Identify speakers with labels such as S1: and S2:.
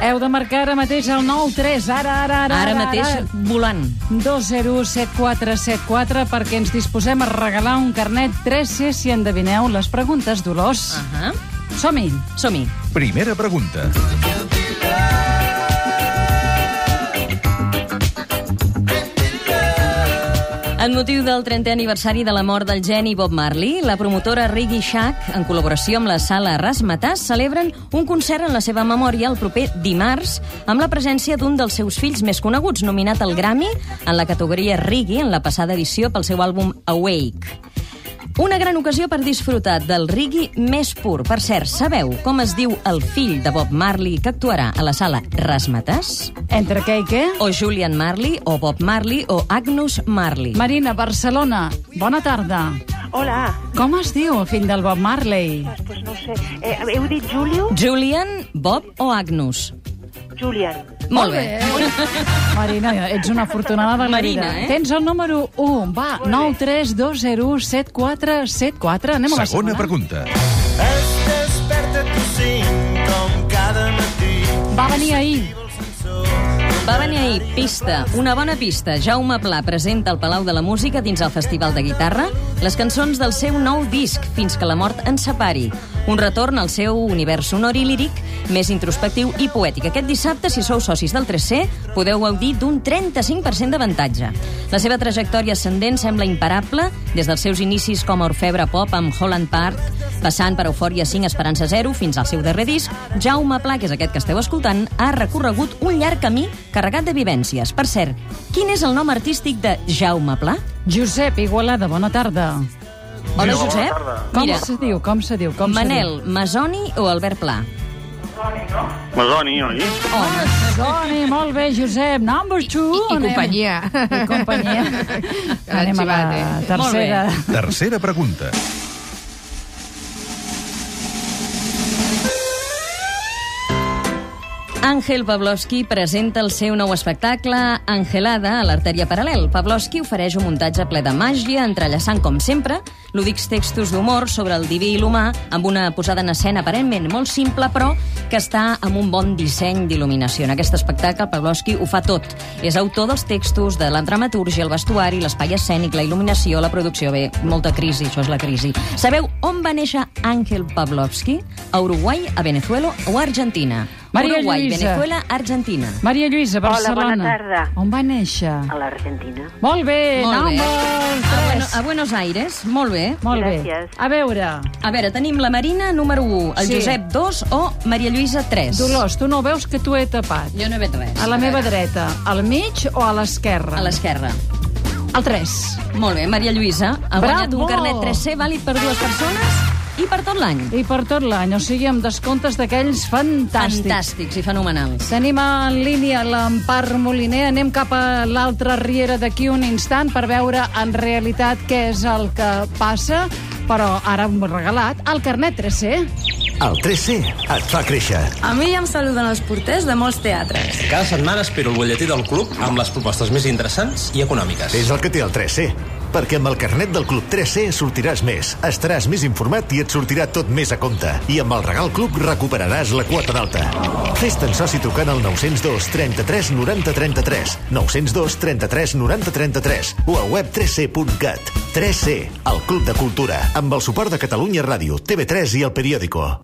S1: Heu de marcar ara mateix el 9-3, ara, ara, ara.
S2: Ara mateix volant.
S1: 2-0-7-4-7-4 perquè ens disposem a regalar un carnet 3C si endevineu les preguntes, Dolors.
S2: Uh -huh.
S1: Som-hi.
S2: Som-hi.
S3: Primera pregunta.
S2: En motiu del 30è aniversari de la mort del geni Bob Marley, la promotora Riggy Shack, en col·laboració amb la sala Rasmatàs, celebren un concert en la seva memòria el proper dimarts amb la presència d'un dels seus fills més coneguts, nominat al Grammy en la categoria Riggy en la passada edició pel seu àlbum Awake. Una gran ocasió per disfrutar del reggae més pur. Per cert, sabeu com es diu el fill de Bob Marley que actuarà a la sala Rasmatàs?
S1: Entre què i què?
S2: O Julian Marley, o Bob Marley, o Agnus Marley.
S1: Marina, Barcelona, bona tarda.
S4: Hola,
S1: Com es diu el fill del Bob Marley?
S4: pues, pues no ho sé. Eh, heu dit Julio?
S2: Julian, Bob o Agnus?
S4: Julian.
S2: Molt bé.
S1: Marina, ets una afortunada de la
S2: Marina,
S1: vida.
S2: eh?
S1: Tens el número 1. Va, 9 3 2 0 7 4 7 4. Anem a la segona.
S3: Segona pregunta.
S5: Es desperta tu cinc com cada matí.
S1: Va venir ahir.
S2: Va venir ahir Pista, una bona pista. Jaume Pla presenta al Palau de la Música dins el Festival de Guitarra les cançons del seu nou disc, Fins que la mort ens separi. Un retorn al seu univers sonor i líric més introspectiu i poètic. Aquest dissabte, si sou socis del 3C, podeu gaudir d'un 35% d'avantatge. La seva trajectòria ascendent sembla imparable des dels seus inicis com a orfebre pop amb Holland Park, passant per Eufòria 5, Esperança 0, fins al seu darrer disc, Jaume Pla, que és aquest que esteu escoltant, ha recorregut un llarg camí carregat de vivències. Per cert, quin és el nom artístic de Jaume Pla?
S1: Josep Igualada, bona tarda.
S2: Hola, Josep.
S1: Com
S2: Mira,
S1: se diu, com se diu, com se diu?
S2: Manel, Masoni o Albert Pla?
S6: Masoni, oi?
S2: Home,
S1: Doni, molt bé, Josep. Number two.
S7: I
S1: anem.
S7: companyia.
S1: I companyia.
S7: Que l'han
S1: Anem a la
S7: xivat, eh?
S1: tercera.
S2: Molt
S3: Tercera pregunta.
S2: Àngel Pavlovsky presenta el seu nou espectacle Angelada a l'artèria paral·lel. Pavlovsky ofereix un muntatge ple de màgia, entrellaçant, com sempre, lúdics textos d'humor sobre el diví i l'humà, amb una posada en escena aparentment molt simple, però que està amb un bon disseny d'il·luminació. En aquest espectacle, Pavlovsky ho fa tot. És autor dels textos, de la dramatúrgia, el vestuari, l'espai escènic, la il·luminació, la producció. Bé, molta crisi, això és la crisi. Sabeu on va néixer Àngel Pavlovsky? A Uruguai, a Venezuela o a Argentina?
S1: Maria
S2: Uruguai,
S1: Lluïsa.
S2: Venezuela, Argentina.
S1: Maria Lluïsa,
S4: Hola,
S1: Barcelona.
S4: bona tarda.
S1: On va néixer?
S4: A l'Argentina.
S1: Molt bé,
S2: Molt bé.
S1: number
S2: Ah, A, bueno,
S1: 3.
S2: a Buenos Aires, molt bé.
S1: Molt bé.
S4: Gràcies.
S1: A veure,
S2: A veure, tenim la Marina, número 1, el
S1: Sí.
S2: Josep, 2, o Maria Lluïsa, 3.
S1: Dolors, tu no veus que tu he tapat.
S2: Jo no he vet res.
S1: A la meva dreta, al mig o a l'esquerra?
S2: A l'esquerra.
S1: Al 3.
S2: Molt bé, Maria Lluïsa ha
S1: Bravo!
S2: guanyat un carnet 3C vàlid per dues persones i per tot l'any.
S1: I per tot l'any, o sigui, amb descomptes d'aquells fantàstics.
S2: Fantàstics i fenomenals.
S1: Tenim en línia l'Empar Moliner. Anem cap a l'altra riera d'aquí un instant per veure en realitat què és el que passa. Però ara hem regalat el carnet 3C.
S8: El 3C et fa créixer.
S9: A mi ja em saluden els porters de molts teatres.
S10: Cada setmana espero el butlletí del club amb les propostes més interessants i econòmiques.
S8: És el que té el 3C. Perquè amb el carnet del Club 3C sortiràs més, estaràs més informat i et sortirà tot més a compte. I amb el Regal Club recuperaràs la quota d'alta. Fes-te'n soci trucant al 902 33 90 33, 902 33 90 33 o a web 3C.cat. 3C, el Club de Cultura, amb el suport de Catalunya Ràdio, TV3 i El Periòdico.